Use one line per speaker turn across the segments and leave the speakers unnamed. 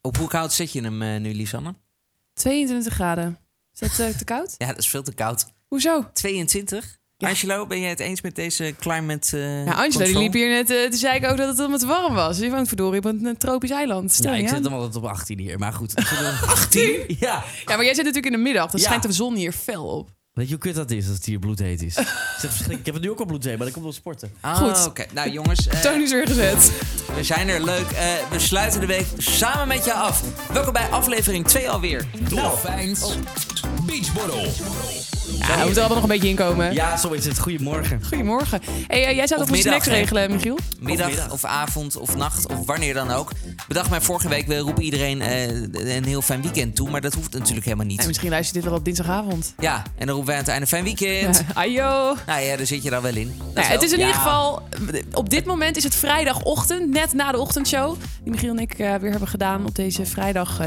Op hoe koud zet je hem eh, nu, Lisanne?
22 graden. Is dat eh, te koud?
Ja, dat is veel te koud.
Hoezo?
22? Angelo, ben jij het eens met deze climate eh
Ja, Angela die
control?
liep hier net, eh toen zei ik ook dat het allemaal te warm was. Je woont verdorie op een, een tropisch eiland. Stel
Ja,
je
ik
aan.
zit hem altijd op 18 hier. Maar goed. ik zit er op 18? Ja.
ja, maar jij zit natuurlijk in de middag. Dan
Ja.
schijnt de zon hier fel op.
Weet je hoe kut dat is als het hier bloedheet is? Het is echt verschrikkelijk. Ik heb het nu ook al bloedheet, maar dat komt door sporten.
Ah,
Goed.
Oké, nou jongens. eh,
Toon is weer gezet.
We zijn er leuk. Eh, we sluiten de week samen met jou af. Welkom bij aflevering 2 alweer. Nou,
Dolfijns. Beachborrel.
Ja, we moeten allemaal nog een beetje inkomen.
Ja, zo is het. Goedemorgen.
Goedemorgen. Hey, eh, jij zou
Of
dat moeten
middag,
snacks
hè?
regelen, Michiel.
Middag,
Of middag.
of avond of nacht of wanneer dan ook. Bedacht mij vorige week, we roepen iedereen eh, een heel fijn weekend toe. Maar dat hoeft natuurlijk helemaal
En
niet.
misschien luister je dit wel op dinsdagavond.
Ja, en dan roepen wij aan het einde fijn weekend.
Ajo.
Nou ja, daar zit je dan wel in. Dat wel.
Nou, het is in
Ja.
ieder geval, op dit moment is het vrijdagochtend, net na de ochtendshow. Die Michiel en ik eh, weer hebben gedaan op deze vrijdag eh,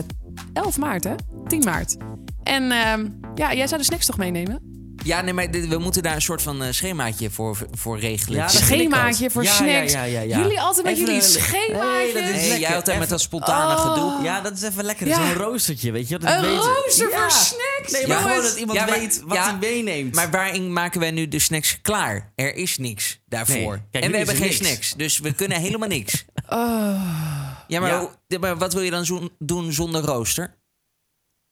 11 maart, hè? 10 maart. En ehm, ja, jij zou de snacks toch meenemen?
Ja, nee, maar dit- we moeten daar een soort van eh, schemaatje voor, voor regelen.
Ja, dat
Dus-
vind ik
Schemaatje
ook.
voor
Ja,
snacks.
ja, ja, ja, ja.
Jullie altijd met
Even
jullie
een-
schemaatjes.
Nee, dat is-
Nee, jij
lekker.
altijd met dat spontane
Oh.
gedoe.
Ja, dat is even lekker.
Ja.
Dat is een roostertje, weet je. wel, Dat
Een
weten.
rooster
Ja.
voor snacks,
Nee, maar
jongens.
gewoon dat iemand
Ja, maar-
weet wat
ja.
hij meeneemt.
Maar waarin maken wij nu de snacks klaar? Er is niks
Nee.
daarvoor.
Kijk,
en
nu
we
is
hebben
er
geen
niks.
snacks, dus we kunnen helemaal niks.
Oh.
Ja, maar,
Ja.
hoe- ja, maar wat wil je dan zoen- doen zonder rooster?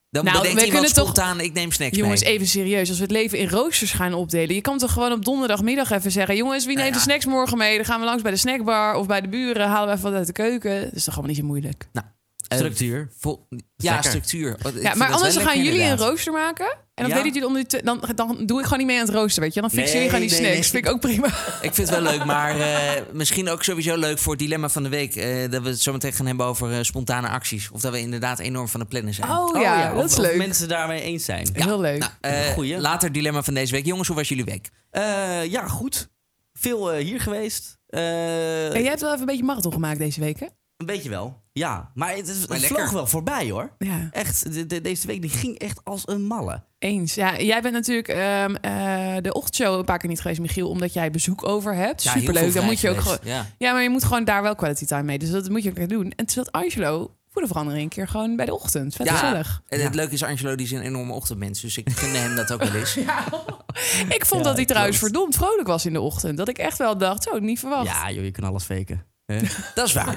Dan
Nou,
bedenkt
we
iemand
kunnen toch-
spontaan, ik neem snacks
Jongens, e-
mee.
even serieus. Als we het leven in roosters gaan opdelen. Je kan toch gewoon op donderdagmiddag even zeggen: Jongens, wie neemt de snacks morgen mee? Dan gaan we langs bij de snackbar of bij de buren. Halen we even wat uit de keuken. Dat is toch allemaal niet zo moeilijk.
Eh,
Structuur.
Oh
vol- ja,
Lekker.
structuur. Want ik vind
Ja,
dat
maar
wel
anders dan
lekker,
gaan jullie
inderdaad.
een rooster maken. En dan,
Ja?
weet ik jullie om die te- dan, dan doe ik gewoon niet mee aan het rooster, weet je. Dan fixen
Nee,
jullie gewoon die
nee,
snacks.
nee.
Vind ik ook prima.
Ik vind het wel leuk, maar eh, misschien ook sowieso leuk voor het dilemma van de week. eh, dat we het zo meteen gaan hebben over eh, spontane acties. Of dat we inderdaad enorm van de plannen zijn.
Oh,
Oh
ja,
of-
dat is
of
leuk.
mensen daarmee eens zijn.
Heel leuk.
Nou, eh,
Goeie.
Later dilemma van deze week. Jongens, hoe was jullie week?
Eh, ja, goed. Veel eh, hier geweest. Eh,
en jij hebt wel even een beetje marathon gemaakt deze week, hè?
Een beetje wel. Ja, maar het, is, het
lekker.
vloog wel voorbij hoor.
Ja,
Echt, de- de- deze week die ging echt als een malle.
eens. Ja, jij bent natuurlijk ehm, eh, de ochtendshow een paar keer niet geweest, Michiel. Omdat jij bezoek over hebt.
Ja, heel veel
Superleuk. Dan
vrij
moet je ook
geweest.
gewoon...
Ja.
Ja, maar je moet gewoon daar wel quality time mee. Dus dat moet je ook echt doen. En toen zat Angelo voor de verandering een keer gewoon bij de ochtend. Vet gezellig.
En het leuke is, Angelo die is een enorme ochtendmens. Dus ik gun hem dat ook wel eens.
Ik vond dat hij trouwens verdomd vrolijk was in de ochtend. Dat ik echt wel dacht, zo, niet verwacht.
Ja, joh, je kan alles faken.
Dat is waar.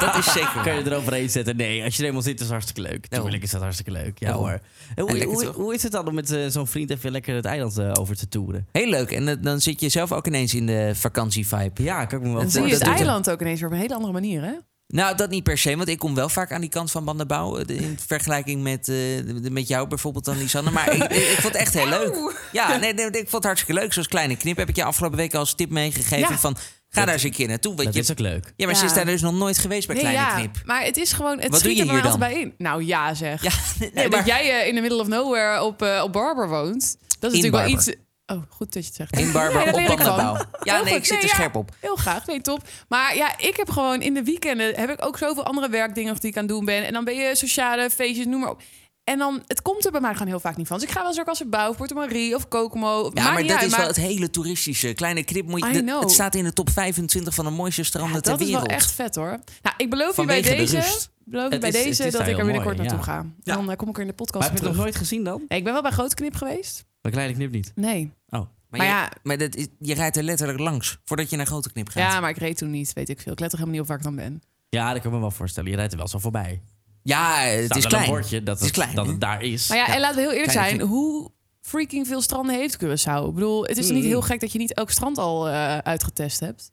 Dat is zeker
Kan
waar.
je eroverheen zetten? Nee, als je er eenmaal zit, is het hartstikke leuk.
Ah. Daarom.
Tuurlijk is dat hartstikke leuk. Ja
Daarom.
hoor. En hoe,
En lekker,
hoe,
toch?
hoe is het dan om met eh, zo'n vriend even lekker het eiland eh, over te toeren?
Heel leuk. En eh, dan zit je zelf ook ineens in de vakantievibe.
Ja, kan ik me wel
Dan zie je
dat doet
het
voorstellen.
hem.
eiland ook ineens weer op een hele andere manier, hè?
Nou, dat niet per se, want ik kom wel vaak aan die kant van bandenbouw. eh, In vergelijking met, eh, de- met jou bijvoorbeeld dan, Lisanne. Maar ik, ik- ik vond het echt heel leuk. Ja, nee, nee, ik vond het hartstikke leuk. Zoals kleine knip heb ik je afgelopen week als tip meegegeven.
Ja.
Van, ga daar eens een keer naartoe. Want
Dat
je,
is ook leuk.
ja, maar ze
Ja.
is daar dus nog nooit geweest bij
Nee,
kleine
ja,
knip.
Maar het is gewoon,
Wat
het
doe
schiet
je
er maar
hier
altijd bij in. Nou ja, zeg.
Ja, nee,
Nee,
maar-
Dat jij eh, in de middle of nowhere op, eh, op Barber woont, dat is
In
natuurlijk wel
Barber.
iets... Oh, goed dat je het zegt.
In Barber
Nee, dat
op
leer ik van.
bandenbouw. Ja,
Heel
nee,
goed.
ik zit er
ja,
scherp op.
Heel graag, nee, top. Maar ja, ik heb gewoon in de weekenden heb ik ook zoveel andere werkdingen nog die ik aan het doen ben. En dan ben je sociale feestjes, noem maar op. En dan, het komt er bij mij gewoon heel vaak niet van. Dus ik ga wel eens ook als het bouw, Porto Marie of Kokomo. Maakt
Ja, maar
niet
dat
uit,
is
maar-
wel het hele toeristische. Kleine knip moet
I
je. dat-
know.
Het staat in de top 25 van de mooiste stranden
dat
ter
is
wereld.
wel echt vet hoor. Nou, ik beloof je bij
Vanwege de
deze,
rust.
beloof je
Het
bij
is- het
deze dat
is daar
ik er
heel
binnenkort
mooi,
naartoe
ja.
ga.
Ja.
Dan eh, kom ik er in de podcast
Maar
op
heb je het
terug.
nog nooit gezien dan?
Nee, ik ben wel bij Grote Knip geweest.
Bij Kleine Knip niet.
Nee.
Oh.
Maar,
Maar
je,
ja.
maar dat is- je rijdt er letterlijk langs voordat je naar Grote Knip gaat.
Ja, maar ik reed toen niet, weet ik veel. Ik let toch helemaal niet op waar ik dan ben.
Ja, dat kan ik me wel voorstellen. Je rijdt er wel zo voorbij.
Ja, het
Staat
is
wel
klein.
Een bordje dat
het is
het,
klein.
dat
hè?
het daar is.
Maar ja, en laten we heel eerlijk
Kleine
zijn. Hoe freaking veel stranden heeft Curaçao? Ik bedoel, het is niet
Mm.
heel gek dat je niet elk strand al eh, uitgetest hebt.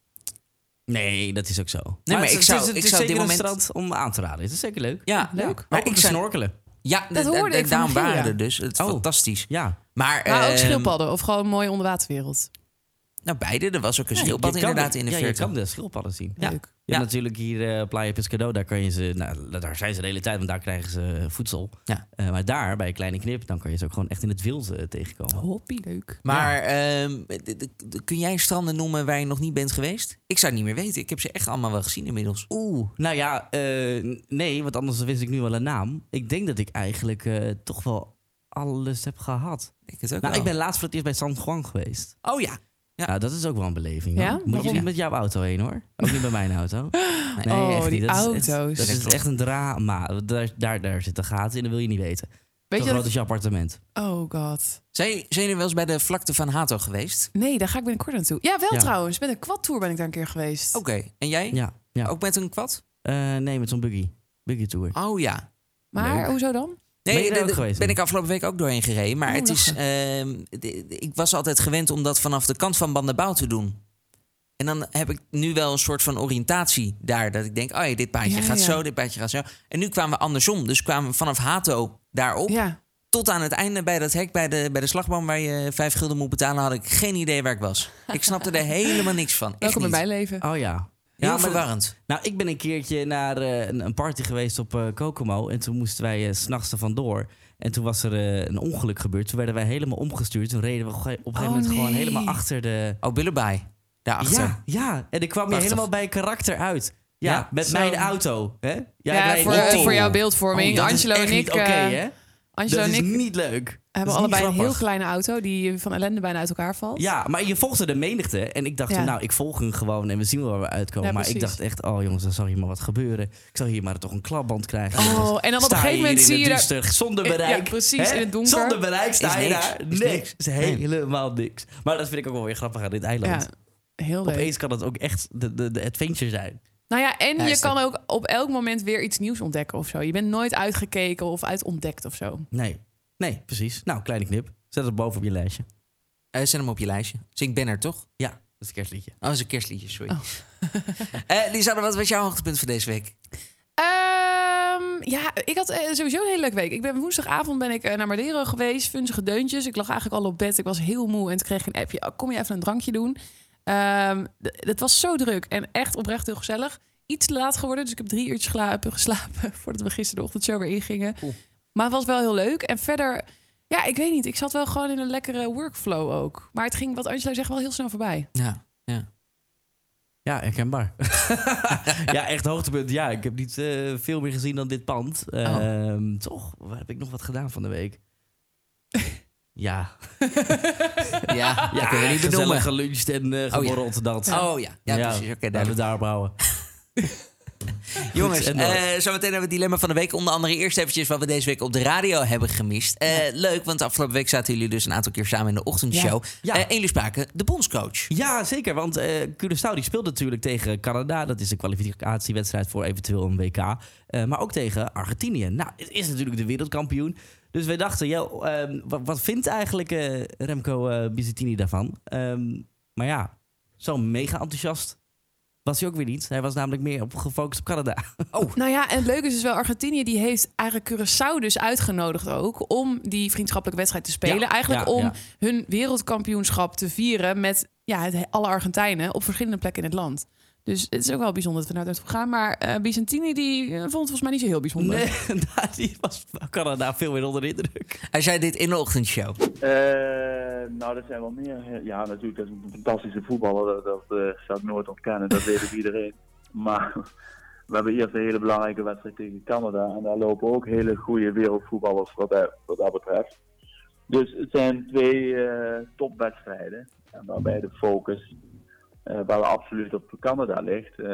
Nee, dat is ook zo. Nee, maar,
maar
het,
ik
is-
zou-
het is,
ik zou
zeker
dit
een
moment-
strand om aan te raden. Het is zeker leuk.
Ja,
Leuk.
Ja,
Maar
maar
ook
ik
ik
zou,
snorkelen.
ja dat
hoorde ik van
daarom
Michiel,
waren
ja.
er dus. Het is
Oh.
fantastisch.
Ja.
Maar,
Maar ook
ehm,
schildpadden of gewoon een mooie onderwaterwereld.
Nou, beide. Er was ook een
Ja,
schildpad
je kan
inderdaad
de-
in de
ja,
verte.
je kan de schildpadden zien.
Leuk.
Ja.
Ja.
Ja. natuurlijk hier eh Playa Pescado, daar, kan je ze, nou, daar zijn ze de hele tijd, want daar krijgen ze eh, voedsel.
Ja.
Eh, maar daar, bij een kleine knip, dan kan je ze ook gewoon echt in het wild eh, tegenkomen.
Hoppie, leuk.
Maar ehm, d- d- d- kun jij stranden noemen waar je nog niet bent geweest? Ik zou het niet meer weten. Ik heb ze echt allemaal wel gezien inmiddels.
Oeh, nou ja, eh, nee, want anders wist ik nu wel een naam. Ik denk dat ik eigenlijk eh, toch wel alles heb gehad.
Ik het ook
Nou,
wel.
ik ben laatst voor het eerst bij San Juan geweest.
Oh ja. Ja.
Nou, dat is ook wel een beleving. hoor.
Ja?
Moet je
Waarom?
niet met jouw auto heen hoor. Ook niet bij mijn auto. Nee,
Oh,
echt niet.
die
Dat is echt-
auto's.
dat
Dat
is
klopt.
echt een drama. Daar, daar, daar zitten gaten in, dat wil je niet weten.
Weet
Zo
je
groot
dat
is
ik-
je appartement.
Oh god.
Zijn, zijn jullie wel eens bij de vlakte van Hato geweest?
Nee, daar ga ik binnenkort naartoe. Ja, wel
Ja. Oh,
trouwens. Met een quadtour ben ik daar een keer geweest.
Oké, en jij?
Ja, ja.
Oh.
Ook met een kwad?
Eh, nee, met zo'n buggy. Buggy tour.
Oh ja.
maar
leuk.
hoezo dan?
Ben je
Nee,
daar
daar
ook geweest
ben
dan?
ik afgelopen week ook doorheen gereden. Maar
Oh,
het is, ehm, d- d- ik was altijd gewend om dat vanaf de kant van Bandabouw te doen. En dan heb ik nu wel een soort van oriëntatie daar. Dat ik denk, oh ja, dit paadje
Ja,
gaat
ja.
zo, dit paadje gaat zo. En nu kwamen we andersom. Dus kwamen we vanaf Hato daarop.
Ja.
Tot aan het einde bij dat hek, bij de, bij de slagboom waar je vijf gulden moet betalen... had ik geen idee waar ik was. Ik snapte er helemaal niks van. Echt
Welkom in
niet.
mijn leven.
Oh ja.
Heel
Ja, maar-
verwarrend.
Nou, ik ben een keertje naar eh, een, een party geweest op eh, Kokomo. En toen moesten wij eh, 's s'nachts er vandoor. En toen was er eh, een ongeluk gebeurd. Toen werden wij helemaal omgestuurd. Toen reden we ge- op een gegeven
Oh,
moment gewoon
nee.
helemaal achter de...
Oh, Billebaai, daarachter.
Ja, ja. En ik kwam je
Prachtig.
helemaal bij karakter uit. Ja,
Ja,
met
zo.
mijn auto. Hè? Jij
Ja,
rijdt
voor,
op
eh,
tien.
voor jouw
Oh,
beeldvorming.
dat is
Angelo
echt
en
niet
ik,
Oké,
eh,
hè?
Angelo
Dat
en
is
ik
niet leuk. Dat is
hebben
niet
allebei een heel
grappig.
kleine auto die van ellende bijna uit elkaar valt.
Ja, maar je volgde de menigte. En ik dacht,
Ja.
toen, nou, ik volg hem gewoon en we zien wel waar we uitkomen.
Ja,
maar ik
precies.
dacht echt, oh jongens, dan zal hier maar wat gebeuren. Ik zal hier maar toch een klapband krijgen.
Oh,
Anders
en dan op een
sta
gegeven
hier
moment
in
zie
het
je daar-
duister, zonder
Ja,
bereik.
precies,
hè?
in het donker.
Zonder bereik sta
Is
je
niks,
daar.
is
Niks. Is
Nee.
helemaal niks. Maar dat vind ik ook wel weer grappig aan dit eiland.
Ja, heel leuk.
Opeens kan het ook echt de, de, de adventure zijn.
Nou ja, en
Ja,
je
is
kan ook op elk moment weer iets nieuws ontdekken of zo. Je bent nooit uitgekeken of uitontdekt of zo.
Nee. Nee, precies. Nou, kleine knip. Zet het boven op je lijstje.
Eh, zet hem op je lijstje. Dus ik ben er, toch?
Ja, dat is een kerstliedje.
Oh, dat is een kerstliedje, sorry. Eh, Lisanne, wat was jouw hoogtepunt van deze week?
Ehm, ja, ik had eh, sowieso een hele leuke week. Ik ben woensdagavond ben ik eh, naar Madeira geweest, funzige deuntjes. Ik lag eigenlijk al op bed, ik was heel moe en toen kreeg ik een appje. "Oh, kom je even een drankje doen? Ehm, d- het was zo druk en echt oprecht heel gezellig. Iets te laat geworden, dus ik heb drie uurtjes geslapen, geslapen voordat we gisteren de ochtendshow weer ingingen.
Oeh.
Maar het was wel heel leuk. En verder, ja, ik weet niet. Ik zat wel gewoon in een lekkere workflow ook. Maar het ging, wat Angela zegt, wel heel snel voorbij.
Ja, ja.
Ja, herkenbaar. ja, echt hoogtepunt. Ja, ik heb niet eh, veel meer gezien dan dit pand. Ehm, Toch, waar heb ik nog wat gedaan van de week? ja,
ja, dat kunnen we niet
gezellig
benoemen.
geluncht en eh
Oh, ja.
geborreld dat.
Oh ja, ja, precies. Oké,
laten we het
duidelijk.
daarop houden.
Jongens,
en
eh,
door.
zometeen hebben we het dilemma van de week. Onder andere eerst eventjes wat we deze week op de radio hebben gemist. Eh, Leuk, want de afgelopen week zaten jullie dus een aantal keer samen in de ochtendshow. Eh,
Ja.
Ja.
Ja.
jullie spraken de bondscoach.
Ja, zeker. Want eh Curaçao die speelt natuurlijk tegen Canada. Dat is de kwalificatiewedstrijd voor eventueel een WK. Eh, maar ook tegen Argentinië. Nou, het is natuurlijk de wereldkampioen. Dus wij dachten, joh, ehm, wat, wat vindt eigenlijk eh, Remco eh Bizzettini daarvan? Ehm, maar ja, zo mega enthousiast was hij ook weer niet. Hij was namelijk meer op, gefocust op Canada.
Nou ja, en het leuke is dus wel, Argentinië die heeft eigenlijk Curaçao dus uitgenodigd ook om die vriendschappelijke wedstrijd te spelen.
Ja,
eigenlijk
ja,
om
ja.
hun wereldkampioenschap te vieren met ja, het- alle Argentijnen op verschillende plekken in het land. Dus het is ook wel bijzonder dat we naar het hebben gegaan. Maar eh Byzantini die eh, vond het volgens mij niet zo heel bijzonder.
Nee, nou, die was van Canada veel meer onder de indruk.
Hij zei dit in de ochtendshow.
Eh, nou, dat zijn wel meer. Ja, natuurlijk, dat is een fantastische voetballer. Dat, dat eh, zou ik nooit ontkennen. Dat weet ook iedereen. Maar we hebben eerst een hele belangrijke wedstrijd tegen Canada. En daar lopen ook hele goede wereldvoetballers wat, dat- wat dat betreft. Dus het zijn twee eh, topwedstrijden. En waarbij de focus, eh, waar we absoluut op Canada ligt, eh,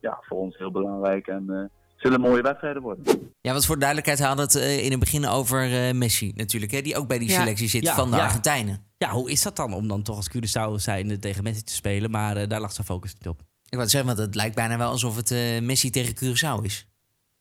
ja, voor ons heel belangrijk. En eh, het zullen mooie wedstrijden worden.
Ja, want voor duidelijkheid we hadden we het eh, in het begin over eh, Messi natuurlijk. Hè, die ook bij die
Ja.
selectie zit
Ja,
van de
ja.
Argentijnen.
Ja, hoe is dat dan om dan toch als Curaçao zijnde tegen Messi te spelen? Maar eh, daar lag zijn focus niet op.
Ik wou zeggen, want het lijkt bijna wel alsof het eh, Messi tegen Curaçao is.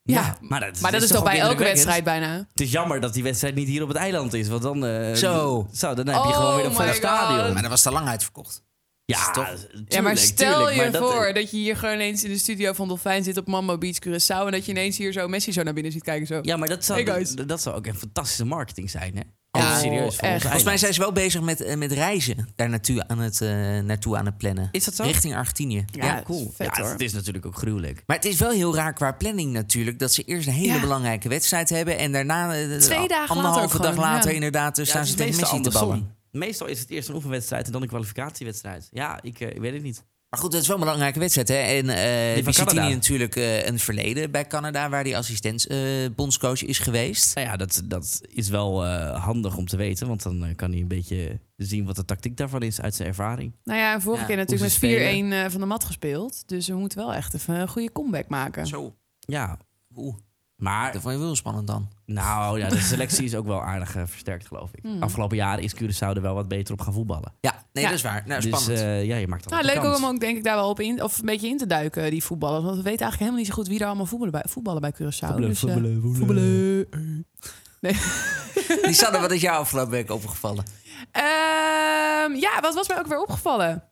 Ja,
maar dat is,
maar dat is, toch
ook
bij elke
indrukwekkend?
wedstrijd bijna.
Het is jammer dat die wedstrijd niet hier op het eiland is. Want dan, eh,
Zo.
zo, dan heb je
Oh
gewoon weer een volle
my
stadion.
God.
Maar dat was te lang uitverkocht.
Ja,
Toch?
tuurlijk,
ja, maar stel
tuurlijk,
je
maar dat-
voor dat, je hier gewoon eens in de studio van Dolfijn zit op Mambo Beach Curaçao... en dat je ineens hier zo Messi zo naar binnen ziet kijken. Zo.
ja, maar dat
Hey,
zou,
guys.
dat zou ook een fantastische marketing zijn, hè?
Ja,
Ja, serieus. Voor
echt.
ons
Volgens mij
eiland.
zijn ze wel bezig met, eh, met reizen daar naartoe aan het, eh, naartoe aan het plannen.
Is dat zo?
Richting Argentinië. Ja.
dat is vet,
Ja,
hoor.
het is natuurlijk ook gruwelijk.
Maar het is wel heel raar qua planning natuurlijk... dat ze eerst een hele
Ja.
belangrijke wedstrijd hebben... en daarna eh,
Twee dagen later
anderhalve
ook
dag
gewoon,
later
ja.
inderdaad eh,
Ja,
staan
het
ze
is
tegen
meestal
Messi te
andersom.
ballen.
Meestal is het eerst een oefenwedstrijd en dan een kwalificatiewedstrijd. Ja, ik, eh, ik weet het niet.
Maar goed, dat is wel een belangrijke wedstrijd. Hè? En eh
Die van
Vicentini
Canada.
natuurlijk eh, een verleden bij Canada... waar hij assistent eh, bondscoach is geweest.
Nou ja, dat, dat is wel eh, handig om te weten. Want dan eh, kan hij een beetje zien wat de tactiek daarvan is uit zijn ervaring.
Nou ja, en vorige
Ja,
keer natuurlijk
hoe
met
ze
4-1 eh, van de mat gespeeld. Dus we moeten wel echt even een goede comeback maken.
Zo.
Ja,
Oeh,
maar
dat vond je wel spannend dan.
nou ja, de selectie is ook wel aardig eh, versterkt, geloof ik.
Hmm.
Afgelopen jaren is Curaçao er wel wat beter op gaan voetballen.
Ja, nee,
Ja.
dat is waar. Nou,
dus
spannend.
eh, ja, je maakt
Nou,
altijd
leuk
de
ook
kans.
om ook denk ik daar wel op in, of een beetje in te duiken, eh, die voetballers. Want we weten eigenlijk helemaal niet zo goed wie er allemaal voetballen bij, voetballen bij Curaçao.
Voetballen,
Dus, eh,
voetballen, voetballen.
voetballen. Nee.
eh,
Die Sanne, wat is jou afgelopen week opgevallen?
Ehm, ja, wat was mij ook weer opgevallen?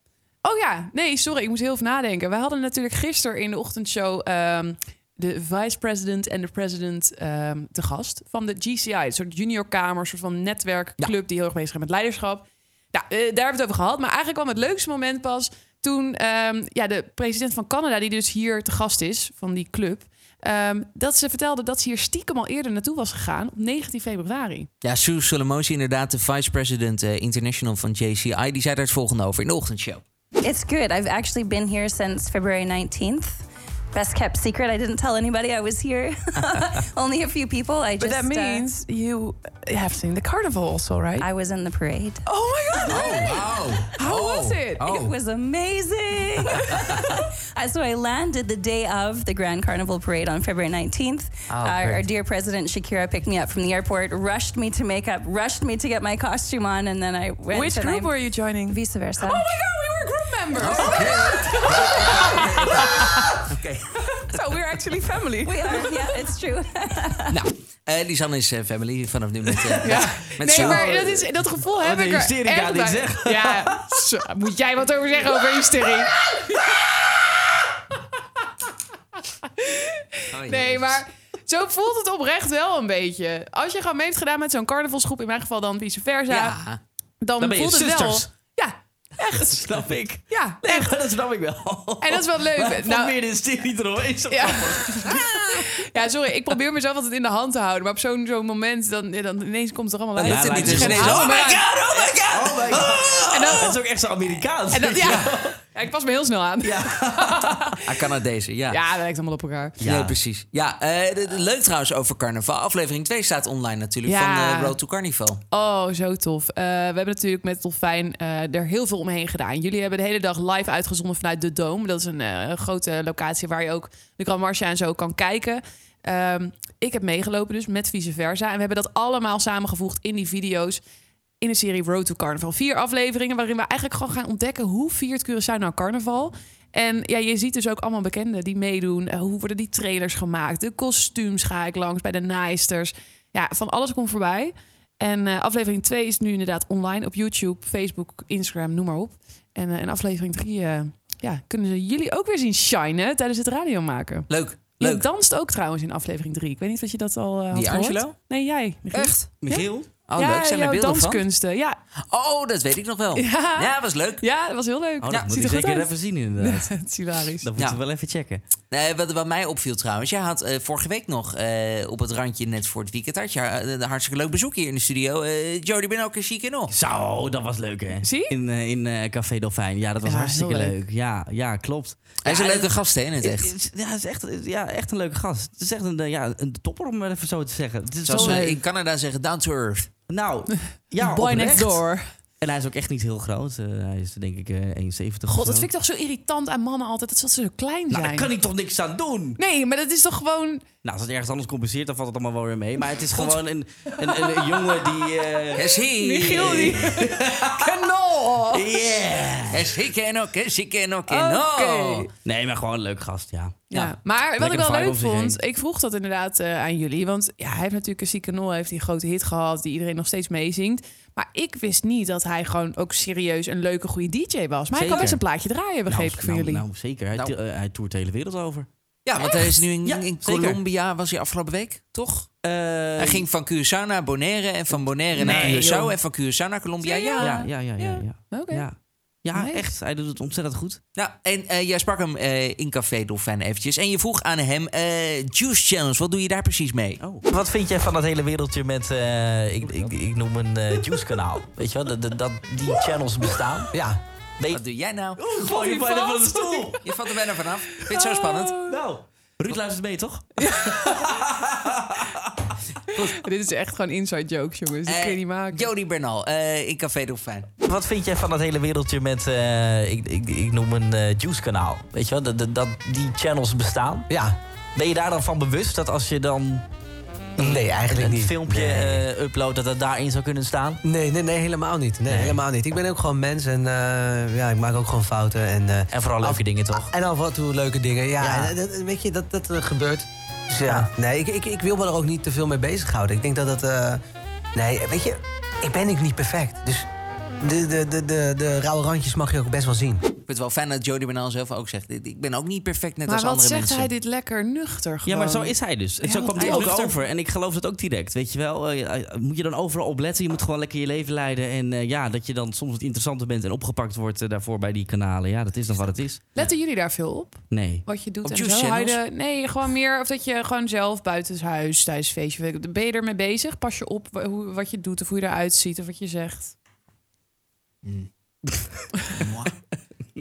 Oh ja, nee, sorry, ik moest heel even nadenken. We hadden natuurlijk gisteren in de ochtendshow ehm, de vice-president en de president ehm, te gast van de GCI. Een soort juniorkamer, een soort van netwerkclub die heel erg bezig is met leiderschap. Nou, eh, daar hebben we het over gehad. Maar eigenlijk kwam het leukste moment pas toen ehm, ja, de president van Canada, die dus hier te gast is van die club, ehm, dat ze vertelde dat ze hier stiekem al eerder naartoe was gegaan op 19 februari.
Ja, Sue Solomosi, inderdaad, de vice-president eh, international van JCI... die zei daar het volgende over in de ochtendshow.
It's good. I've actually been here since February 19th. Best kept secret. I didn't tell anybody I was here. Only a few people. I just.
But that
uh,
means you have seen the carnival also, right?
I was in the parade.
oh my god! How
Oh.
was it?
It was amazing. Uh, so I landed the day of the Grand Carnival Parade on February 19th.
Oh,
our, our dear President Shakira picked me up from the airport, rushed me to makeup, rushed me to get my costume on, and then I went.
Which
and
group
I'm-
were you joining?
Vice versa.
Oh my god, we were group members. so we're actually family.
We are. Yeah, it's true.
Nou, eh Lisanne is eh, family vanaf nu met, eh, met, met
Nee,
Sue.
maar dat, is, dat gevoel heb
een
ik er
hysterie
echt
aan
bij.
dit, zeg.
Ja, zo, moet jij wat over zeggen over hysterie?
Oh, ja.
Nee, maar zo voelt het oprecht wel een beetje. Als je gewoon mee hebt gedaan met zo'n carnavalsgroep, in mijn geval dan vice versa,
Ja, Oh,
dan,
Dan ben je
voelt het wel.
zusters.
Ja,
Dat snap ik.
ja,
Nee,
echt.
maar dat snap ik wel.
En dat is wel leuk. Nou-
nou, meer de hysterie eromheen. Zo-
Ja. ja, sorry, ik probeer mezelf altijd in de hand te houden. Maar op zo'n zo'n moment, dan, ja, dan ineens komt het er allemaal
Dan
uit.
is het niet
En
eens
dan-
ineens,
hou
oh
me
my
aan.
Oh my god! Oh my god!
En dan-
Dat is ook echt zo Amerikaans.
en dan- ja. ja, ik pas me heel snel aan. Ja,
hij kan het deze, ja.
dat lijkt allemaal op elkaar.
Ja, precies. Ja, eh, d- d- leuk trouwens over carnaval. Aflevering 2 staat online natuurlijk
Ja.
van eh, Road to Carnival.
Oh, zo tof. Eh, we hebben natuurlijk met Dolfijn eh, er heel veel omheen gedaan. Jullie hebben de hele dag live uitgezonden vanuit De Dome. Dat is een eh, grote locatie waar je ook de Grand Marcha en zo kan kijken. Ehm, ik heb meegelopen dus met vice versa. En we hebben dat allemaal samengevoegd in die video's. In de serie Road to Carnival. Vier afleveringen waarin we eigenlijk gewoon gaan ontdekken... hoe viert Curaçao nou carnaval? En ja, je ziet dus ook allemaal bekenden die meedoen. Eh, hoe worden die trailers gemaakt? De kostuums ga ik langs bij de naaisters. Ja, van alles komt voorbij. En eh, aflevering 2 is nu inderdaad online op YouTube, Facebook, Instagram, noem maar op. En, eh, en aflevering 3 ja, kunnen ze jullie ook weer zien shinen tijdens het radio maken.
Leuk,
Je
leuk.
danst ook trouwens in aflevering 3. Ik weet niet of je dat al eh, had
Die
gehoord.
Angelo?
Nee, jij. Michiel.
Echt?
Michiel?
Oh,
ja,
leuk. Zijn er
jouw
beelden van?
danskunsten. Ja.
Oh, dat weet ik nog wel.
Ja.
Ja, was leuk.
ja, dat was heel leuk.
Oh, dat
ja,
moet
ziet
ik
er goed
zeker
uit.
even zien Nou, inderdaad.
Het is hilarisch.
Dat moeten
Ja.
we wel even checken.
Nee, wat, wat mij opviel trouwens, jij had eh, vorige week nog eh, op het randje net voor het weekend... had je eh, een hartstikke leuk bezoek hier in de studio. Eh Jody ben ook een chique nog.
Zo, dat was leuk hè.
Zie?
In, eh, in eh, Café Dolfijn. Ja, dat was
Ja,
hartstikke
heel
leuk.
leuk.
Ja, ja, klopt.
Hij is een
Ja,
leuke gast, hè, in het
Het
echt.
is- Ja, het is echt, ja, echt een leuke gast. Het is echt een, eh, ja, een topper om het even zo te zeggen. Het is
Zoals
zo'n,
we
eh,
in Canada zeggen, down to earth.
nou, ja,
Boy
oprecht.
next door.
En hij is ook echt niet heel groot. Eh, hij is denk ik eh,
God,
1,70 of
dat
zo.
vind ik toch zo irritant aan mannen altijd. Dat ze zo klein
Nou,
zijn.
daar kan ik toch niks aan doen?
Nee, maar dat is toch gewoon...
Nou, als het ergens anders compenseert, dan valt het allemaal wel weer mee. Maar het is gewoon een, een, een, een jongen die... eh
Yes, he.
Michiel die... Knol!
yeah!
Yes, he can ook, yes, he can ook,
Oké.
no.
Nee, maar gewoon een leuk gast, ja. Nou,
Ja. Maar wat ik
Lekker
wel
vibe
leuk
om zich
vond, ik vroeg dat inderdaad eh, aan jullie. Want ja, hij heeft natuurlijk een zieke nol, heeft die grote hit gehad, die iedereen nog steeds meezingt. Maar ik wist niet dat hij gewoon ook serieus een leuke, goede DJ was. Maar hij
Zeker.
kan best een plaatje draaien, begreep ik van
nou,
jullie.
Nou, zeker. Hij,
Nou.
to- eh, hij toert de hele wereld over.
Ja, want hij is nu in,
Ja,
in
zeker.
Colombia, was hij afgelopen week, toch?
Eh,
hij ging van Curaçao naar Bonaire en van Bonaire naar
Nee,
Curaçao
joh.
en van Curaçao naar Colombia.
Zie je?
Ja.
ja, ja, ja, ja. Ja,
Ah, Oké.
ja. ja
Nice.
echt. Hij doet het ontzettend goed.
Nou, en eh, jij sprak hem eh, in Café Dolfijn eventjes en je vroeg aan hem, eh, Juice Challenge, wat doe je daar precies mee?
Oh.
Wat vind jij van dat hele wereldje met, eh, ik, ik, ik noem een eh, juice kanaal? Weet je wel, dat, dat, dat die channels bestaan. Ja,
Nee.
Wat doe jij nou?
Val je bijna van de stoel.
Je valt er bijna vanaf. Vind je het zo spannend?
Nou, Ruud luistert mee, toch?
Dit is echt gewoon inside jokes, jongens. Dat kun je
Eh,
niet maken.
Jody Bernal eh, in Café Dolfijn.
Wat vind jij van dat hele wereldje met, eh, ik, ik, ik noem een eh, juice-kanaal? Weet je wel, dat, dat, dat die channels bestaan.
Ja.
Ben je daar dan van bewust dat als je dan
Nee, eigenlijk
een
niet.
filmpje
Nee.
eh, uploadt, dat dat daarin zou kunnen staan?
Nee, nee, nee, helemaal niet. Nee, helemaal niet. Ik ben ook gewoon mens en eh, ja, ik maak ook gewoon fouten. En, eh,
En vooral leuke
af-
dingen, toch?
En af en toe leuke dingen. Ja,
Ja.
en dat- weet je, dat, dat eh, gebeurt. Dus ja, nee, ik, ik, ik wil me er ook niet te veel mee bezighouden. Ik denk dat dat... eh, nee, weet je, ik ben ook niet perfect. Dus de, de, de, de, de rauwe randjes mag je ook best wel zien.
Ik vind het wel fijn dat Jody Bernal zelf ook zegt. Ik ben ook niet perfect net
maar
als
wat
andere
zegt
mensen.
hij dit lekker nuchter
Ja,
gewoon.
maar zo is hij dus. En zo
Ja,
kwam hij
hij
ook
lucht er-
over. En ik geloof dat ook direct. Weet je wel, Eh, eh, moet je dan overal op letten. Je moet gewoon lekker je leven leiden. En eh, ja, dat je dan soms wat interessanter bent en opgepakt wordt eh, daarvoor bij die kanalen. Ja, dat is dan wat het is.
Letten jullie daar veel op?
Nee.
Wat je doet
Op
en
juice
zo? Hou je de-
channels?
nee, gewoon meer of dat je gewoon zelf buiten huis, tijdens feestje, weet ik- ben je ermee bezig? Pas je op wa- hoe, wat je doet of hoe je eruit ziet of wat je zegt?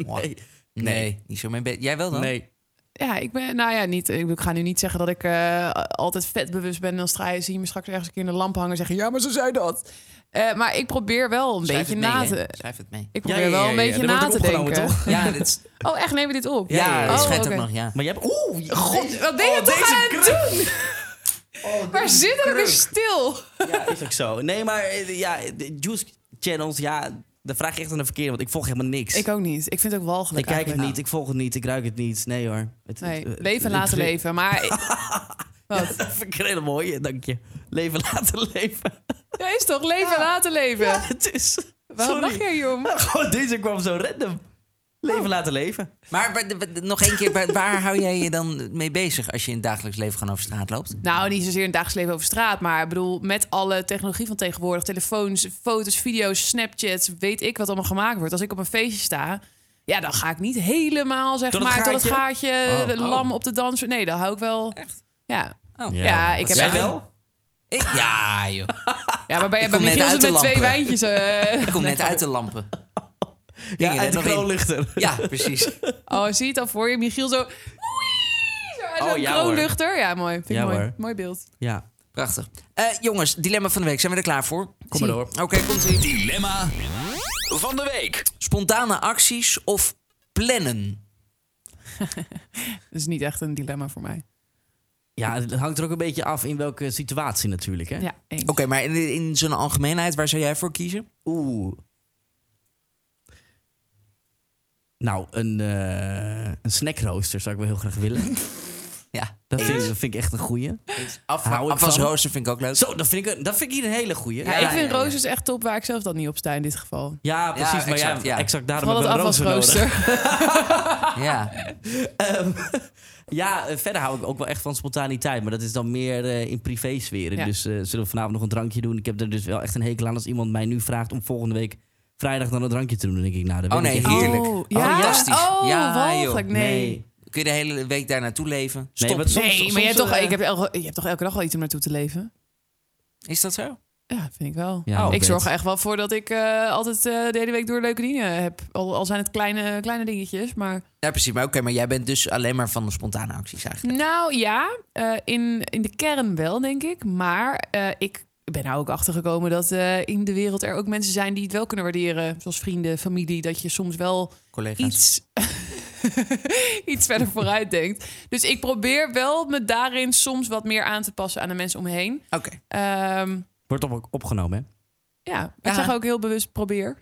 Nee. nee, niet zo mijn bed. Jij wel dan?
Nee.
Ja, ik ben, nou ja, niet, ik bedoel, ik ga nu niet zeggen dat ik eh, altijd vetbewust ben. Dan stra je, zie je me straks ergens een keer in de lamp hangen en zeggen, ja, maar ze zei dat. Eh, maar ik probeer wel een
Schrijf
beetje
het mee,
na
hè?
te...
Schrijf het mee.
Ik
Ja,
probeer
ja,
wel
ja,
een
ja,
beetje
dat
na
wordt
te
ook opgenomen,
denken.
toch?
Ja, dit is-
Oh, echt? Neem je dit op?
ja, dat
oh,
schijnt
oké.
ook nog, ja.
Maar jij hebt... Oeh, je-
God, wat ben je toch aan het doen? Waar zit ik weer stil?
Ja, is ook zo. Nee, maar eh, ja, de juice channels, ja, daar vraag je echt aan de verkeerde. Want ik volg helemaal niks.
Ik ook niet. Ik vind het ook walgelijk
Ik kijk het
eigenlijk.
niet, ik volg het niet, ik ruik het niet. Eh, Nee hoor. Het,
Nee,
het-
leven
het-
laten
het-
leven. Maar wat?
Dat vind ik een hele mooie, dank je. Leven laten leven.
Ja, is toch? Leven laten leven.
Het is...
Waarom
sorry.
lach Oh. jij, jong?
Gewoon, deze kwam zo random. Leven laten leven.
Maar wa- wa- wa- nog één keer, wa- waar hou jij je dan mee bezig als je in het dagelijks leven gewoon over straat loopt?
Nou, niet zozeer in het dagelijks leven over straat, maar ik bedoel, met alle technologie van tegenwoordig, telefoons, foto's, video's, Snapchats, weet ik wat allemaal gemaakt wordt. Als ik op een feestje sta, ja, dan ga ik niet helemaal, zeg
Tot het
maar, tot het gaatje,
Oh,
eh, lam op de dans. Nee, dan hou ik wel. Echt? Ja.
Oh.
Ja, ik heb
Jij
echt-
wel? Ik, ja, joh.
Ja, maar bij, bij
kom net
Michiel
uit
is het
de
met twee
lampen.
wijntjes. eh.
Ik kom net uit de lampen. Ging
Ja,
er net
uit de
nog in.
kroonlichter.
Ja, precies.
Oh, zie je het al voor je? Michiel zo... oei, Zo uit
Oh,
zo'n
ja,
kroonluchter. Ja, mooi. Vind ik
Ja,
mooi.
hoor.
Mooi beeld.
Ja.
Prachtig. Eh, jongens, dilemma van de week. Zijn we er klaar voor?
Kom maar door.
Oké, komt ie.
Dilemma van de week.
Spontane acties of plannen?
Dat is niet echt een dilemma voor mij.
Ja, het hangt er ook een beetje af in welke situatie natuurlijk. Hè?
Ja, eens.
Oké, maar in, in zijn algemeenheid, waar zou jij voor kiezen?
Oeh. Nou, een, eh een snackrooster zou ik wel heel graag willen.
Ja,
Dat vind, ik- dat vind ik echt een goeie.
af,
Hou ik van.
afwasrooster vind ik ook leuk.
Zo, dat vind ik, dat vind ik hier een hele goeie.
Ja,
Ja,
ik vind
ja, ja.
roosters echt top, waar ik zelf dan niet op sta in dit geval.
Ja, precies. maar
exact,
ja,
ja.
exact daarom
Vooral
hebben
het
we een rooster nodig.
afwasrooster.
Ja.
Ja, eh, verder hou ik ook wel echt van spontaniteit. Maar dat is dan meer eh, in privésferen.
Ja.
Dus eh, zullen we vanavond nog een drankje doen? Ik heb er dus wel echt een hekel aan als iemand mij nu vraagt om volgende week vrijdag dan een drankje te doen. Dan denk ik, nou, dat
Oh
wil ik
nee,
echt niet.
heerlijk.
Oh, ja?
Fantastisch.
Oh,
ja,
walgelijk.
joh.
Nee.
Kun je de hele week daar naartoe leven? Stop.
maar soms-
nee,
soms,
maar je hebt, toch,
eh,
ik heb elke, je hebt toch elke dag wel iets om naartoe te leven?
Is dat zo?
Ja, vind ik wel.
Ja,
ik
Bert.
zorg er echt wel voor dat ik eh, altijd eh, de hele week door leuke dingen heb. Al, al zijn het kleine, kleine dingetjes, maar...
Ja, precies. Maar oké, maar jij bent dus alleen maar van de spontane acties eigenlijk.
Nou ja, eh, in, in de kern wel, denk ik. Maar eh, ik ben nou ook achtergekomen dat eh, in de wereld er ook mensen zijn die het wel kunnen waarderen. Zoals vrienden, familie. Dat je soms wel
Collega's.
iets, iets verder vooruit denkt. Dus ik probeer wel me daarin soms wat meer aan te passen aan de mensen om me heen.
Oké.
Ehm,
Wordt op, opgenomen, hè?
ja, ik zeg ook heel bewust probeer.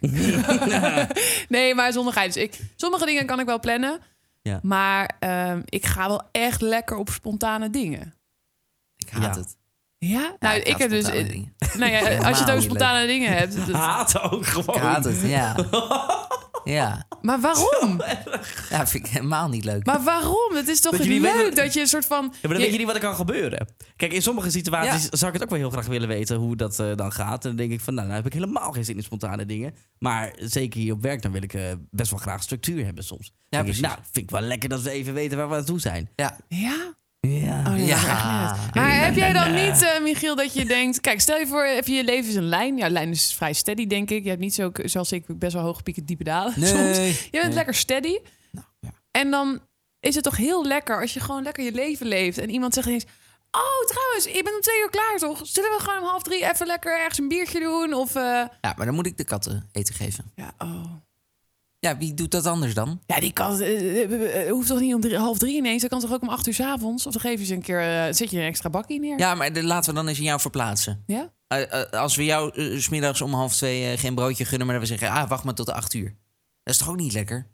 nee, maar zonder gein. Dus ik, sommige dingen kan ik wel plannen.
Ja.
Maar ehm, ik ga wel echt lekker op spontane dingen.
Ik haat
Ja.
het.
Ja, nou,
ik
ik
haat
heb dus.
spontane dingen.
Nou ja,
Helemaal
als je het over
niet
spontane dingen hebt. dat-
Haat ook gewoon.
Ik haat het, ja. Ja.
maar waarom?
Ja, vind ik helemaal niet leuk.
Maar waarom? Het is toch
Dat jullie
leuk
weten-
dat je een soort van.
Ja, maar dan
je-
weet je niet wat er kan gebeuren. Kijk, in sommige situaties zou ik het ook wel heel graag willen weten hoe dat eh, dan gaat. En dan denk ik van, nou, dan heb ik helemaal geen zin in spontane dingen. Maar zeker hier op werk, dan wil ik eh, best wel graag structuur hebben soms. Ja, denk ik,
precies.
nou, vind ik wel lekker dat we even weten waar we aan toe zijn.
Ja.
ja?
Ja.
Oh, dat
Ja.
maakt echt niet uit. Maar heb jij dan niet, eh, Michiel, dat je denkt... Kijk, stel je voor, even je leven is een lijn. Ja, lijn is vrij steady, denk ik. Je hebt niet zo, zoals ik, best wel hoge pieken, diepe dalen
Nee.
soms. Je bent
Nee. Nou,
lekker steady.
ja.
En dan is het toch heel lekker als je gewoon lekker je leven leeft. En iemand zegt ineens... Oh, trouwens, je bent om twee uur klaar, toch? Zullen we gewoon om half drie even lekker ergens een biertje doen? Of... eh,
Ja, maar dan moet ik de katten eten geven.
ja, oh.
Ja, wie doet dat anders dan?
Ja, die kan. eh, eh, eh, hoeft toch niet om drie- half drie ineens? Dat kan toch ook om acht uur 's avonds? Of dan geef je ze een keer. eh, zet je een extra bakkie neer?
Ja, maar de- laten we dan eens in jou verplaatsen.
Ja?
Eh, eh, als we jou eh, 's smiddags om half twee eh, geen broodje gunnen, maar dat we zeggen, ah, wacht maar tot de acht uur. Dat is toch ook niet lekker?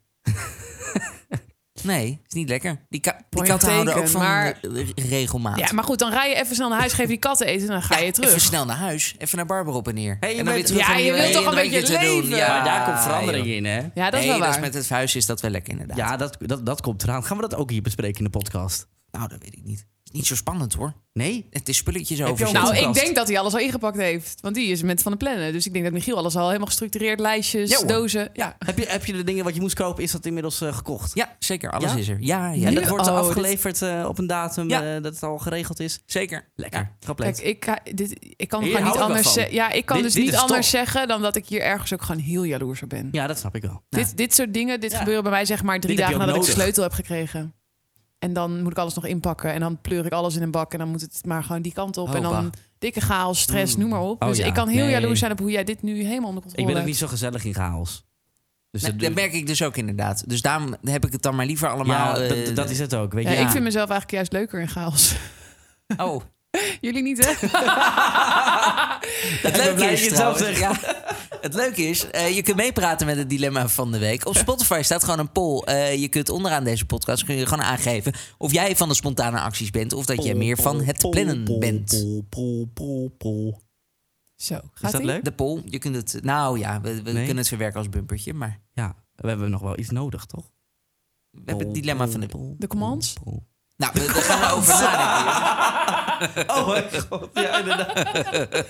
nee, is niet lekker. Die, ka- die
Point
katten houden
taken,
ook van
maar-
re- re- regelmaat.
Ja, maar goed, dan rij je even snel naar huis, geef die katten eten en dan ga je
Even
terug.
snel naar huis. Even naar Barbara op en neer.
Hey, je
en dan
bent-
Ja,
naar
je
die-
wilt
en
toch
dan
een
weet je
beetje
te doen.
leven?
Ja,
Maar daar komt verandering
joh.
in, hè?
Ja, dat is
nee,
wel
dat
waar.
met het verhuizen is dat wel lekker inderdaad.
Ja, dat, dat, dat komt eraan. Gaan we dat ook hier bespreken in de podcast?
Nou, dat weet ik niet. Is Niet zo spannend hoor.
Nee?
Het is spulletjes
je
over.
al-
Nou, ik
podcast.
denk dat hij alles al ingepakt heeft. Want die is met van de plannen. Dus ik denk dat Michiel alles al helemaal gestructureerd, lijstjes,
Ja, hoor.
dozen. Ja.
Heb je, heb je de dingen wat je moest kopen, is dat inmiddels eh, gekocht?
Ja, zeker. Alles
Ja?
is er. Ja, ja.
En
Nu-
dat wordt
oh,
afgeleverd eh, op een datum
Ja.
eh, dat het al geregeld is?
Zeker.
Lekker.
Kijk,
Compleet.
ik, ga- dit, ik kan
Hier
gewoon
hou
niet
ik wel
anders
van.
zeggen. Ja, ik kan
Dit-
dus
dit
niet
is top.
anders zeggen dan dat ik hier ergens ook gewoon heel jaloers op ben.
Ja, dat snap ik wel.
Dit, dit soort dingen, dit gebeuren bij mij zeg maar drie
Nou. Dit heb
dagen
je ook
nadat ik de
nodig.
sleutel heb gekregen. En dan moet ik alles nog inpakken. En dan pleur ik alles in een bak. En dan moet het maar gewoon die kant op. en
Hoppa.
dan dikke chaos, stress, noem maar op.
Oh
dus
ja,
ik kan heel
nee.
jaloers zijn op hoe jij dit nu helemaal onder controle
Ik ben ook niet
hebt.
zo gezellig in chaos. Dus
Nee,
dat,
dat merk ik dus ook inderdaad. Dus daarom heb ik het dan maar liever allemaal.
ja,
eh,
dat, dat is het ook. Weet
Ja,
je?
Ik vind mezelf eigenlijk juist leuker in chaos.
Oh,
Jullie niet, hè?
het
blij
leuke
dat je
is
het zelf
trouwens- ja, het leuke is, eh, je kunt meepraten met het dilemma van de week. Op Spotify staat gewoon een poll. Eh, je kunt onderaan deze podcast kun je gewoon aangeven of jij van de spontane acties bent of dat jij meer van het plannen bent.
Pol, pol, pol, pol.
Zo, gaat
Is dat
ie?
leuk?
De poll, je kunt het. Nou ja, we, we
Nee.
kunnen het verwerken als bumpertje, maar
Ja, we hebben nog wel iets nodig, toch?
we hebben het dilemma van de week.
De commands?
Nou, we- daar gaan we over nadenken.
Oh mijn god, ja inderdaad.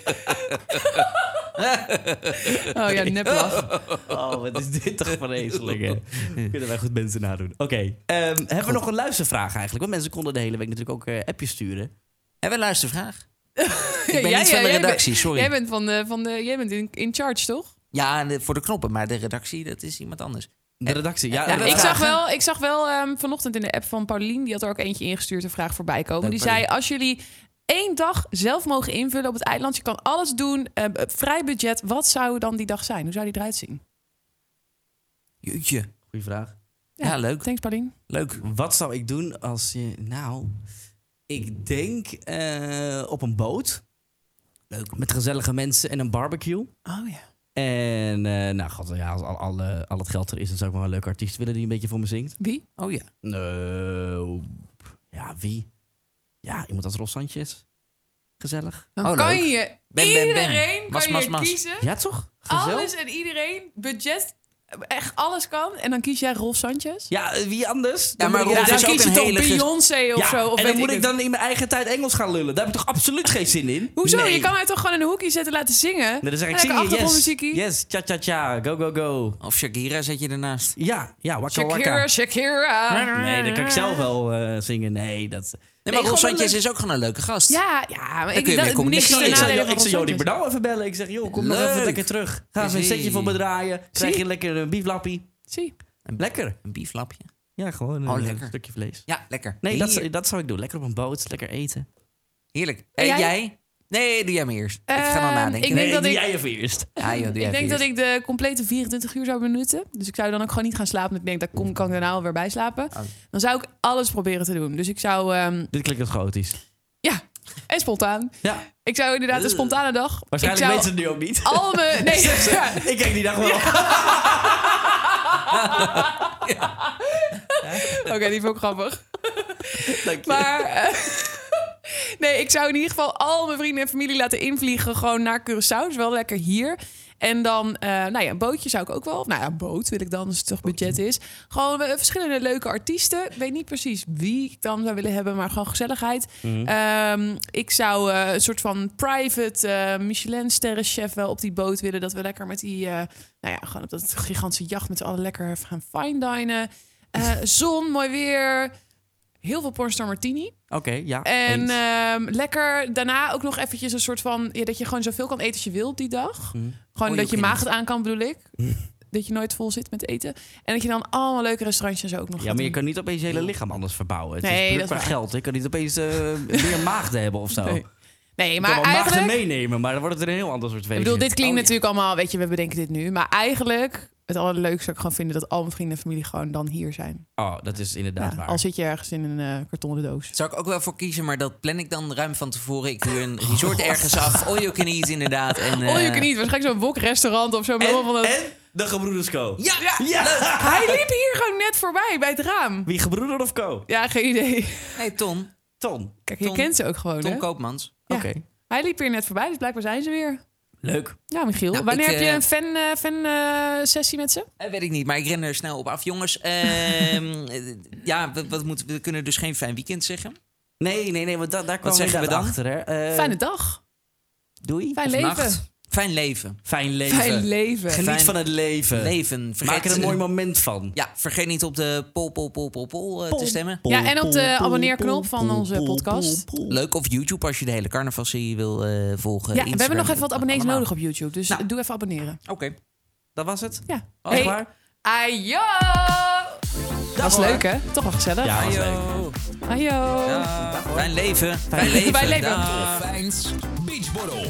Oh ja, neplaf.
Oh, wat is dit toch vreselijk, hè? Kunnen wij goed mensen nadoen. Oké, ehm, hebben we nog een luistervraag eigenlijk? Want mensen konden de hele week natuurlijk ook eh, appjes sturen.
Hebben we een luistervraag?
Ja,
Ik ben
ja,
niet van
ja,
de
jij bent-
redactie, sorry.
Jij bent, van de, van de, jij bent in, in charge, toch?
Ja, en de- voor de knoppen, maar de redactie, dat is iemand anders.
De redactie, ja.
Ja,
de
ik,
vragen.
zag wel, ik zag wel ehm, vanochtend in de app van Paulien, die had er ook eentje ingestuurd, een vraag voorbij komen.
Leuk,
die zei:
Paulien.
Als jullie één dag zelf mogen invullen op het eiland, je kan alles doen, eh, vrij budget, wat zou dan die dag zijn? Hoe zou die eruit zien?
Jeetje.
Goeie vraag.
Ja, leuk.
Thanks, Paulien.
Leuk.
Wat zou ik doen als je... Nou, ik denk eh, op een boot. Leuk. Met gezellige mensen en een barbecue.
Oh ja.
En eh, nou, god, ja, als al, al, eh, al het geld er is, dan zou ik wel een leuke artiest willen die een beetje voor me zingt.
Wie?
Oh ja.
Nou, ja, wie? Ja, iemand als Ros Sanchez. Gezellig.
Dan
Oh,
kan
leuk.
je
ben, ben.
iedereen kan
Mas,
je
mas, mas.
kiezen.
Ja, toch? Gezellig.
Alles en iedereen, budget, echt alles kan. En dan kies jij Rolf Sanchez.
Ja, eh, wie anders? Dan
maar
moet ik-
Rolf
dan
is ook
kies je
een
toch
hele ges-
Beyoncé of
Ja,
zo. Of
en
weet
dan moet ik
het.
dan in mijn eigen tijd Engels gaan lullen. Daar heb ik toch absoluut geen zin in?
Hoezo?
Nee.
Je kan mij toch gewoon in een hoekje zetten laten zingen?
Nee, dan zeg ik,
En
zing je, yes,
achtergrondmuziekie.
yes, cha cha cha, go go go.
Of Shakira zet je ernaast.
Ja, ja, wakka
Shakira,
wakka.
Shakira.
Nee, dat kan ik zelf wel eh, zingen. Nee, dat...
Nee, maar
gewoon
Ron Sanchez
leuk.
is ook gewoon een leuke gast.
Ja, ja,
kun
maar
je
ik
mee
dat niks
communiceren.
ten
Ik
Ja,
zou,
nadele van
ik zou
Ron
Jordi
Sanchez.
Bernal even bellen. Ik zeg, joh, kom nog
Leuk.
even lekker terug. Ga even een
Zie.
setje voor bedraaien. Krijg je lekker een bieflappie.
Zie.
Lekker.
Een bieflapje.
Ja, gewoon
Oh,
een
lekker.
stukje vlees.
Ja, lekker.
Nee, dat,
Heer-
zou- dat zou ik doen. Lekker op een boot, lekker eten.
Heerlijk. En
jij?
jij? Nee, doe jij maar eerst. ik ga dan
Ehm,
nadenken.
ik denk
nee,
dat
doe
ik-
jij even eerst.
Ja, joh, doe jij
Ik denk
even
dat
eerst.
ik de complete 24 uur zou benutten. Dus ik zou dan ook gewoon niet gaan slapen. Want ik denk, dat kom, kan ik daarna alweer bij slapen.
Oh.
Dan zou ik alles proberen te doen. Dus ik zou... ehm,
Dit klinkt als chaotisch.
ja, en spontaan.
Ja,
Ik zou inderdaad een spontane dag...
waarschijnlijk
ik
weten ze
zou
het nu ook niet.
al mijn... Nee, ja,
Ik kijk die dag wel.
Oké, die vond ik grappig. Maar eh, nee, ik zou in ieder geval al mijn vrienden en familie laten invliegen. Gewoon naar Curaçao. Dus wel lekker hier. En dan, eh, nou ja, een bootje zou ik ook wel. Nou ja, een boot wil ik dan, als het toch budget is. Gewoon eh, verschillende leuke artiesten. Ik weet niet precies wie ik dan zou willen hebben, maar gewoon gezelligheid. Ehm, ik zou eh, een soort van private eh Michelin-sterrenchef wel op die boot willen. Dat we lekker met die, eh, nou ja, gewoon op dat gigantische jacht met z'n allen lekker gaan fine dinen. Eh, zon, mooi weer. heel veel pornstar martini.
Oké, ja.
En
eens.
ehm, lekker daarna ook nog eventjes een soort van... Ja, dat je gewoon zoveel kan eten als je wilt die dag.
Mhm.
Gewoon
Oh,
Goeie
dat je
oefening.
maag het aan kan, bedoel ik. dat je nooit vol zit met eten. En dat je dan allemaal leuke restaurantjes en zo ook nog
ja,
gaat
maar je
doen.
kan niet opeens je hele lichaam anders verbouwen. Het
Nee,
is puur
dat is
qua
waar.
geld. Je kan niet opeens eh, meer maagden hebben of zo.
Nee. Nee,
Maar
maar
kan wel maagden Oh,
eigenlijk...
meenemen, maar dan wordt het een heel ander soort feestje.
Ik bedoel, dit klinkt natuurlijk allemaal... Weet je, we bedenken dit nu. Maar eigenlijk... Het allerleukste zou ik gewoon vinden dat al mijn vrienden en familie gewoon dan hier zijn.
Oh, dat is inderdaad
Ja,
waar.
al zit je ergens in een eh, kartonnen doos.
Zou ik ook wel voor kiezen, maar dat plan ik dan ruim van tevoren. Ik huur een resort ergens af. All you can eat, inderdaad. En,
Oh, je
eh,
kan niet. Waarschijnlijk zo'n wokrestaurant of zo. maar allemaal van dat-
En de gebroeders Co.
Ja, ja.
Hij liep hier gewoon net voorbij bij het raam.
Wie gebroeder of Co?
Ja, geen idee.
Hey, Ton.
Ton.
Kijk, je
Tom-
kent ze ook gewoon,
Ton
hè?
Koopmans.
Ja.
Oké.
Hij liep hier net voorbij, dus blijkbaar zijn ze weer.
Leuk.
Ja, Michiel.
Nou,
Wanneer
ik,
heb je
eh,
een fan, eh, fan eh, sessie met ze?
Eh, weet ik niet, maar ik ren er snel op af. Jongens, ehm, eh, ja, wat, wat moeten we, we kunnen dus geen fijn weekend zeggen.
Nee, nee, nee, want da daar kwamen
zeggen we
inderdaad
dan?
achter. Hè. Eh,
Fijne dag.
Doei.
Fijn
Of
leven.
nacht. Fijn leven.
Fijn leven.
Fijn leven.
Geniet
Fijn
van het leven.
Leven. Vergeet,
Eh, Maak er een mooi moment van.
Ja, vergeet niet op de pol, pol, pol, pol, pol eh, te stemmen.
Ja, en op de abonneerknop van onze podcast.
Leuk of YouTube als je de hele carnavalserie wil eh, volgen.
ja, en we hebben nog even wat abonnees
allemaal.
nodig op YouTube. Dus
Nou.
doe even abonneren.
Oké.
Dat was het.
Ja.
Was het klaar?
Ajo! Dat was leuk, hè? Toch wel gezellig.
Ja, was leuk.
Yo.
Ajo!
Dag. Fijn leven. Fijn leven.
Fijn leven.
Dag.
Fijns Beachbottle.